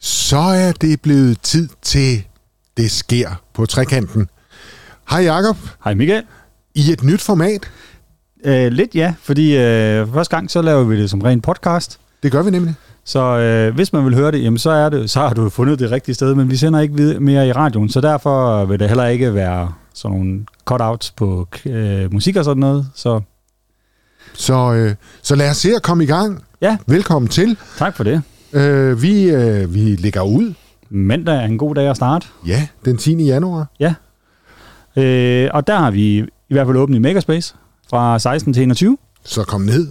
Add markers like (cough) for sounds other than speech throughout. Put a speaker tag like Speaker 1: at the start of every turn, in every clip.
Speaker 1: Så er det blevet tid til Det sker på trekanten. Hej Jakob
Speaker 2: Hej Michael.
Speaker 1: i et nyt format.
Speaker 2: Øh, lidt ja, fordi øh, for første gang så laver vi det som ren podcast.
Speaker 1: Det gør vi nemlig.
Speaker 2: Så øh, hvis man vil høre det, jamen, så, er det, så har du fundet det rigtige sted, men vi sender ikke vid- mere i radioen, så derfor vil der heller ikke være sådan nogle cutouts på øh, musik og sådan noget. Så
Speaker 1: Så, øh, så lad os se at komme i gang.
Speaker 2: Ja.
Speaker 1: Velkommen til.
Speaker 2: tak for det.
Speaker 1: Øh, vi, øh, vi lægger ud.
Speaker 2: Mandag er en god dag at starte.
Speaker 1: Ja, den 10. januar.
Speaker 2: Øh, og der har vi i hvert fald åbent i Makerspace fra 16 til 21.
Speaker 1: Så kom ned.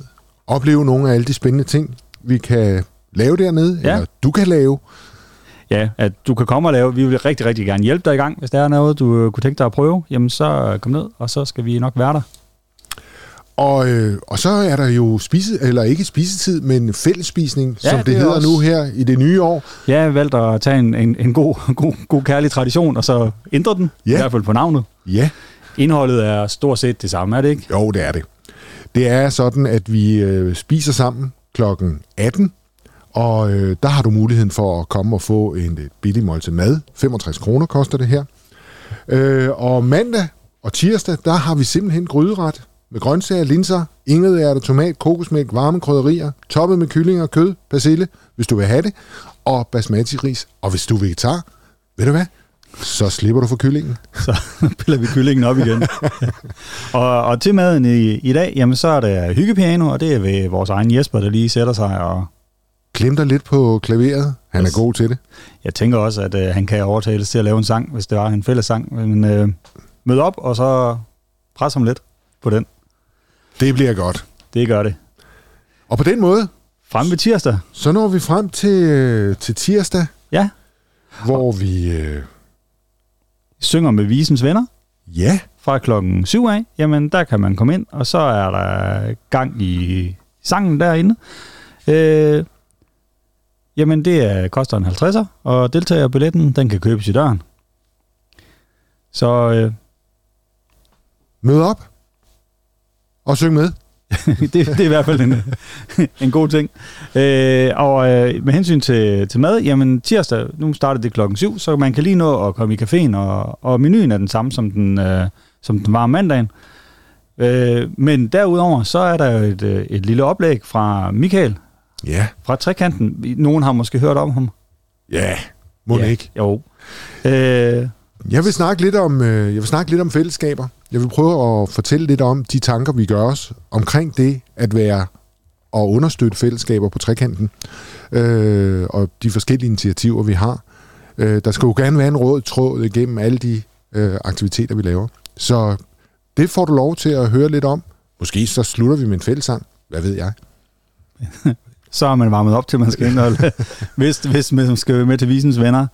Speaker 1: Oplev nogle af alle de spændende ting, vi kan lave dernede,
Speaker 2: Ja.
Speaker 1: eller du kan lave.
Speaker 2: Ja, at du kan komme og lave. Vi vil rigtig, rigtig gerne hjælpe dig i gang. Hvis der er noget, du øh, kunne tænke dig at prøve, jamen så øh, kom ned, og så skal vi nok være der.
Speaker 1: Og, øh, og så er der jo spise, eller ikke spisetid, men fællesspisning, ja, som det,
Speaker 2: det
Speaker 1: det
Speaker 2: er
Speaker 1: hedder
Speaker 2: også-
Speaker 1: nu her i det nye år.
Speaker 2: Ja, jeg valgte at tage en, en, en god, (laughs) god, god kærlig tradition, og så ændre den,
Speaker 1: Ja.
Speaker 2: i hvert fald på navnet.
Speaker 1: Ja,
Speaker 2: Indholdet er stort set det samme, er det (laughs) ikke?
Speaker 1: jo, det er det. Det er sådan, at vi øh, spiser sammen klokken 18, og øh, der har du muligheden for at komme og få en et billig måltid mad. 65 kroner koster det her. Øh, og mandag og tirsdag, der har vi simpelthen gryderet med grøntsager, linser, ingedærter, tomat, kokosmælk, varme krydderier, toppet med kylling og kød, persille, hvis du vil have det, og basmati-ris. Og hvis du er vegetar, ved du hvad, så slipper du for kyllingen.
Speaker 2: Så piller vi kyllingen op igen. (laughs) og, og til maden i, i dag, jamen så er der hyggepiano, og det er ved vores egen Jesper, der lige sætter sig, og
Speaker 1: Klem dig lidt på klaveret. Han
Speaker 2: Yes.
Speaker 1: er god til det.
Speaker 2: jeg tænker også, at øh, han kan overtales til at lave en sang, hvis det var en fælles sang. Men øh, mød op, og så pres ham lidt på den.
Speaker 1: Det bliver godt.
Speaker 2: Det gør det.
Speaker 1: Og på den måde,
Speaker 2: Frem ved tirsdag.
Speaker 1: så når vi frem til, øh, til tirsdag,
Speaker 2: Ja.
Speaker 1: hvor vi, øh,
Speaker 2: Synger med Visens Venner.
Speaker 1: ja,
Speaker 2: fra klokken 7 af, jamen der kan man komme ind, og så er der gang i sangen derinde. Øh, jamen det er, koster en 50'er, og deltagerbilletten, den kan købes i døren. Så øh,
Speaker 1: mød op og syng med.
Speaker 2: (laughs) det, det er i hvert fald en, en god ting. Øh, og øh, med hensyn til, til mad, jamen tirsdag, nu starter det klokken 7, så man kan lige nå at komme i caféen, og, og menuen er den samme, som den, øh, som den var om mandagen. Øh, men derudover, så er der jo et, øh, et lille oplæg fra Michael
Speaker 1: Ja,
Speaker 2: fra Trekanten. Nogen har måske hørt om ham.
Speaker 1: ja, må ja. ikke.
Speaker 2: Jo. Øh,
Speaker 1: Jeg vil snakke lidt om, øh, jeg vil snakke lidt om fællesskaber. Jeg vil prøve at fortælle lidt om de tanker, vi gør os omkring det at være og understøtte fællesskaber på trekanten øh, og de forskellige initiativer, vi har. Øh, der skal jo gerne være en rød tråd igennem alle de øh, aktiviteter, vi laver. Så det får du lov til at høre lidt om. Måske så slutter vi med en fællesang. Hvad ved jeg?
Speaker 2: så er man varmet op til, man skal
Speaker 1: (laughs)
Speaker 2: indholde, hvis, hvis man skal være med til Visens Venner.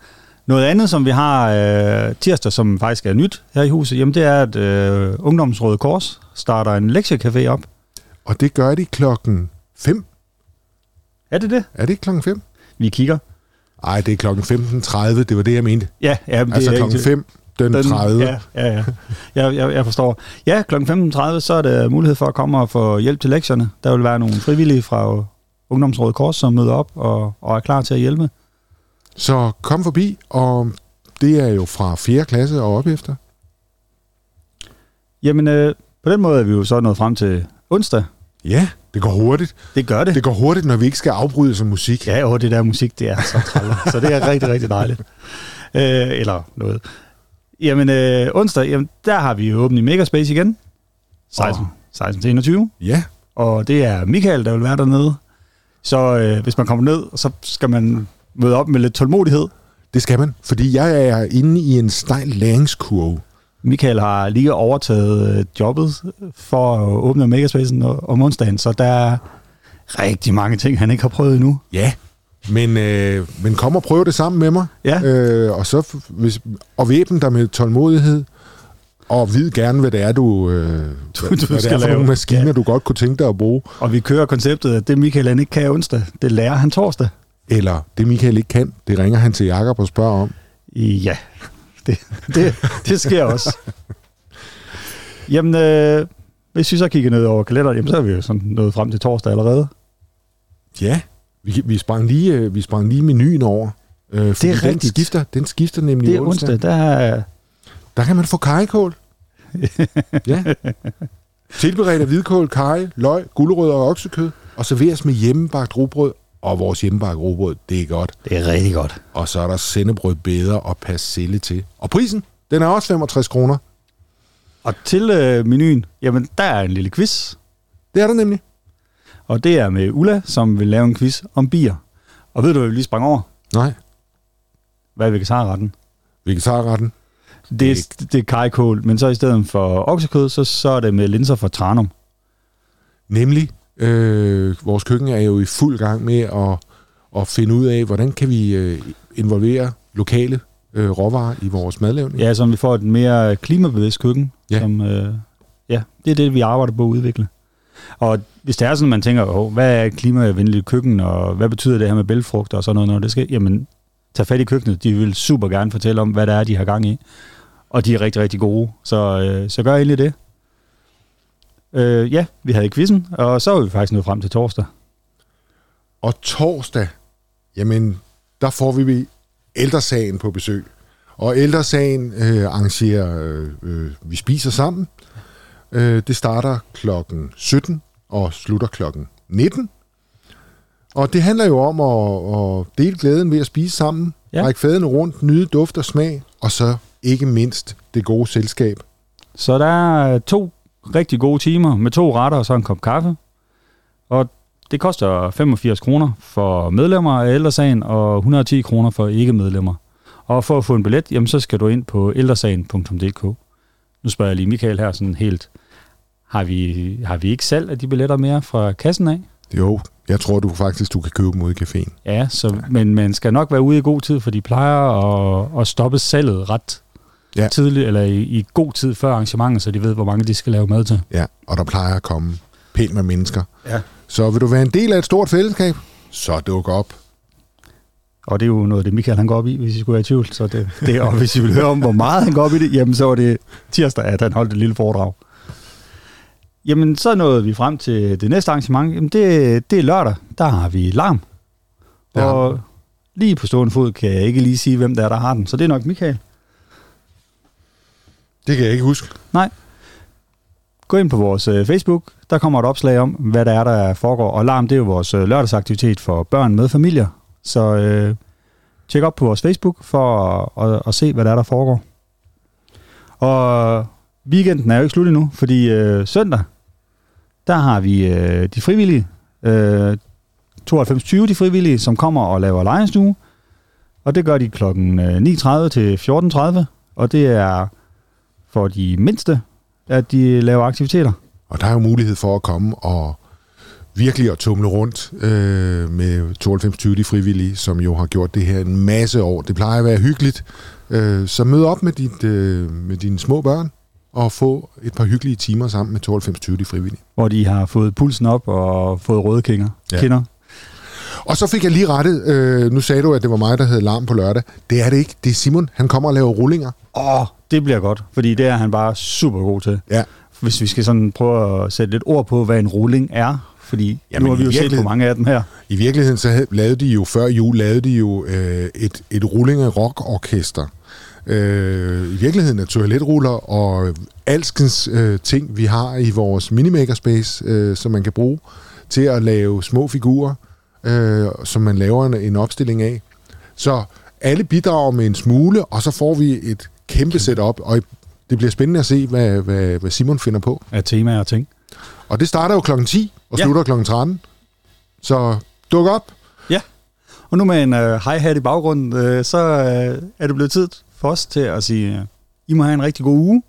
Speaker 2: Noget andet, som vi har øh, tirsdag, som faktisk er nyt her i huset, jamen det er, at øh, Ungdomsrådet Kors starter en lektiecafé op.
Speaker 1: Og det gør de klokken 5.
Speaker 2: Er det det?
Speaker 1: Er det ikke klokken 5?
Speaker 2: Vi kigger.
Speaker 1: Nej, det er klokken 15.30. Det var det, jeg mente.
Speaker 2: Ja, ja men det
Speaker 1: Altså
Speaker 2: er
Speaker 1: klokken
Speaker 2: ikke-
Speaker 1: 5, den, den 30.
Speaker 2: Ja, ja, ja. Jeg, jeg, jeg forstår. Ja, kl. 15.30, så er der mulighed for at komme og få hjælp til lektierne. Der vil være nogle frivillige fra Ungdomsrådet Kors, som møder op og, og er klar til at hjælpe.
Speaker 1: Så kom forbi, og det er jo fra 4. klasse og op efter.
Speaker 2: Jamen, øh, på den måde er vi jo så nået frem til onsdag.
Speaker 1: Ja, det går hurtigt.
Speaker 2: Det gør det.
Speaker 1: Det går hurtigt, når vi ikke skal afbryde som musik.
Speaker 2: Ja, jo, det der musik, det er så træller. så det er rigtig, rigtig dejligt. Øh, eller noget. Jamen, øh, onsdag, jamen, der har vi jo åbent i Megaspace igen. 16,
Speaker 1: Åh.
Speaker 2: 16 til 21.
Speaker 1: Ja,
Speaker 2: Og det er Michael, der vil være dernede. Så øh, hvis man kommer ned, så skal man møde op med lidt tålmodighed.
Speaker 1: det skal man, fordi jeg er inde i en stejl læringskurve.
Speaker 2: Michael har lige overtaget øh, jobbet for at åbne Megaspacen o- om onsdagen, så der er rigtig mange ting, han ikke har prøvet endnu.
Speaker 1: Ja. Men, øh, men kom og prøv det sammen med mig.
Speaker 2: Ja.
Speaker 1: Øh, og, så, f- hvis, og væbn dig med tålmodighed. Og vid gerne, hvad det er, (laughs) du, øh, du,
Speaker 2: Du-
Speaker 1: hvad
Speaker 2: du
Speaker 1: det er
Speaker 2: skal
Speaker 1: for
Speaker 2: lave.
Speaker 1: nogle maskiner,
Speaker 2: Ja.
Speaker 1: du godt kunne tænke dig at bruge.
Speaker 2: Og vi kører konceptet, at det Michael han ikke kan onsdag, det lærer han torsdag.
Speaker 1: Eller det Michael ikke kan, det ringer han til Jakob og spørger om.
Speaker 2: Ja, det, det, det sker også. Jamen, øh, hvis vi så kigger ned over kalenderen, jamen, så er vi jo sådan nået frem til torsdag allerede.
Speaker 1: Ja, vi, vi, sprang lige, øh, vi sprang lige menuen over. Øh, det er Den
Speaker 2: rigtigt.
Speaker 1: skifter, den skifter nemlig
Speaker 2: Det er onsdag, der er...
Speaker 1: Der kan man få
Speaker 2: (laughs)
Speaker 1: kajekål. ja. Tilberedt af hvidkål, kaj, løg, gulerødder og oksekød, og serveres med hjemmebagt rugbrød. Og vores hjemmebagt rugbrød, det er godt.
Speaker 2: Det er rigtig godt.
Speaker 1: Og så er der sendebrød bedre og persille til. Og prisen, den er også 65 kroner.
Speaker 2: Og til øh, menuen, jamen der er en lille quiz.
Speaker 1: Det er der nemlig.
Speaker 2: Og det er med Ulla, som vil lave en quiz om bier. Og ved du, hvad vi lige sprang over?
Speaker 1: Nej,
Speaker 2: Hvad er vegetarretten?
Speaker 1: vegetarretten.
Speaker 2: Det er, det er kajkål, men så i stedet for oksekød, så, så er det med linser fra Tranum.
Speaker 1: Nemlig, øh, vores køkken er jo i fuld gang med at, at finde ud af, hvordan kan vi øh, involvere lokale øh, råvarer i vores madlavning.
Speaker 2: Ja, så vi får et mere klimabevidst køkken.
Speaker 1: Ja.
Speaker 2: Som, øh, ja, det er det, vi arbejder på at udvikle. Og hvis det er sådan, man tænker, Åh, hvad er et klimavenligt køkken, og hvad betyder det her med bælgfrugter og sådan noget, når det skal, jamen, tag fat i køkkenet. De vil super gerne fortælle om, hvad det er, de har gang i. Og de er rigtig, rigtig gode. Så, øh, så gør egentlig det. Øh, ja, vi havde quizzen, og så var vi faktisk nået frem til torsdag.
Speaker 1: Og torsdag, jamen, der får vi ældresagen på besøg. Og ældresagen øh, arrangerer, øh, øh, vi spiser sammen. Øh, det starter klokken 17 og slutter klokken 19. Og det handler jo om at, at dele glæden ved at spise sammen,
Speaker 2: Ja.
Speaker 1: ja. række fadene rundt, nyde duft og smag, og så ikke mindst det gode selskab.
Speaker 2: Så der er øh, to rigtig gode timer med to retter og så en kop kaffe. Og det koster 85 kroner for medlemmer af ældresagen og 110 kroner for ikke-medlemmer. Og for at få en billet, jamen, så skal du ind på ældresagen.dk. Nu spørger jeg lige Michael her sådan helt, har vi, har vi ikke salg af de billetter mere fra kassen af?
Speaker 1: Jo, jeg tror du faktisk, du kan købe dem ude i caféen.
Speaker 2: Ja, så, men man skal nok være ude i god tid, for de plejer at, at stoppe salget ret ja.
Speaker 1: Ja.
Speaker 2: tidligt, eller i, i god tid før arrangementet, så de ved, hvor mange de skal lave mad til.
Speaker 1: Ja, og der plejer at komme pænt med mennesker.
Speaker 2: Ja.
Speaker 1: Så vil du være en del af et stort fællesskab, så duk op.
Speaker 2: Og det er jo noget, af det Michael han går op i, hvis I skulle være i tvivl. Så det, det, og hvis I vil høre om, hvor meget han går op i det, jamen så var det tirsdag, at han holdt et lille foredrag. Jamen, så nåede vi frem til det næste arrangement. Jamen, det, det er lørdag. Der har vi larm.
Speaker 1: Der har
Speaker 2: og lige på stående fod kan jeg ikke lige sige, hvem der er, der har den. Så det er nok Michael.
Speaker 1: Det kan jeg ikke huske.
Speaker 2: Nej. Gå ind på vores øh, Facebook. Der kommer et opslag om, hvad der er, der foregår. Og larm, det er jo vores øh, lørdagsaktivitet for børn med familier. Så øh, tjek op på vores Facebook for at, at, at se, hvad der er, der foregår. Og weekenden er jo ikke slut endnu, fordi øh, søndag, der har vi øh, de frivillige, øh, 92.20 de frivillige, som kommer og laver lejenstue. Og det gør de kl. 9.30 til 14.30, og det er for de mindste, at de laver aktiviteter.
Speaker 1: Og der er jo mulighed for at komme og virkelig at tumle rundt øh, med 9220 de frivillige, som jo har gjort det her en masse år. Det plejer at være hyggeligt. Øh, så mød op med, dit, øh, med dine små børn og få et par hyggelige timer sammen med 9220 de frivillige.
Speaker 2: hvor de har fået pulsen op og fået røde kinder. Ja.
Speaker 1: Ja.
Speaker 2: kinder.
Speaker 1: Og så fik jeg lige rettet. Øh, nu sagde du, at det var mig, der havde larm på lørdag. Det er det ikke. Det er Simon. Han kommer og laver rullinger.
Speaker 2: Åh, det bliver godt, fordi det er han bare super god til.
Speaker 1: Ja.
Speaker 2: Hvis vi skal sådan prøve at sætte lidt ord på, hvad en rulling er, fordi Jamen,
Speaker 1: Jamen,
Speaker 2: nu har vi
Speaker 1: i
Speaker 2: jo set på
Speaker 1: virkeligheden-
Speaker 2: mange af dem her.
Speaker 1: I virkeligheden så havde- lavede de jo før jul lavede de jo øh, et et rullinge rockorkester. Øh, I virkeligheden er toiletruller og alskens øh, ting vi har i vores minimakerspace, øh, som man kan bruge til at lave små figurer, øh, som man laver en, en opstilling af. Så alle bidrager med en smule, og så får vi et kæmpe setup, og det bliver spændende at se, hvad, hvad, hvad Simon finder på.
Speaker 2: Af temaer og ting.
Speaker 1: Og det starter jo kl. 10 og
Speaker 2: Ja.
Speaker 1: slutter kl. 13. Så duk op.
Speaker 2: Og nu med en øh, high hat i baggrunden, øh, så øh, er det blevet tid for os til at sige, øh, I må have en rigtig god uge.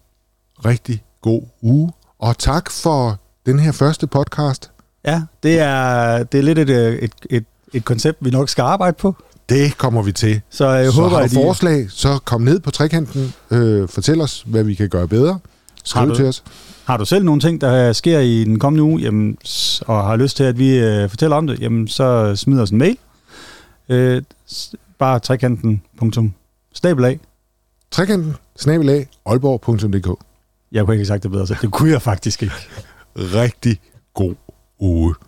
Speaker 1: rigtig god uge. Og tak for den her første podcast.
Speaker 2: Ja, det er, det er lidt et, øh, et, et, et koncept, vi nok skal arbejde på.
Speaker 1: Det kommer vi til.
Speaker 2: Så jeg
Speaker 1: så
Speaker 2: håber,
Speaker 1: har
Speaker 2: at I...
Speaker 1: du forslag, så kom ned på trekanten. Øh, fortæl os, hvad vi kan gøre bedre.
Speaker 2: Har
Speaker 1: Skriv
Speaker 2: du-
Speaker 1: til os.
Speaker 2: Har du selv nogle ting, der sker i den kommende uge, jamen, s- og har lyst til, at vi øh, fortæller om det, jamen, så smid os en mail. Øh, s- bare trekanten. punktum, Stabel af.
Speaker 1: Trekanten, snabelag, aalborg.dk.
Speaker 2: Jeg kunne ikke have sagt det bedre, så det kunne jeg faktisk ikke.
Speaker 1: Rigtig god uge.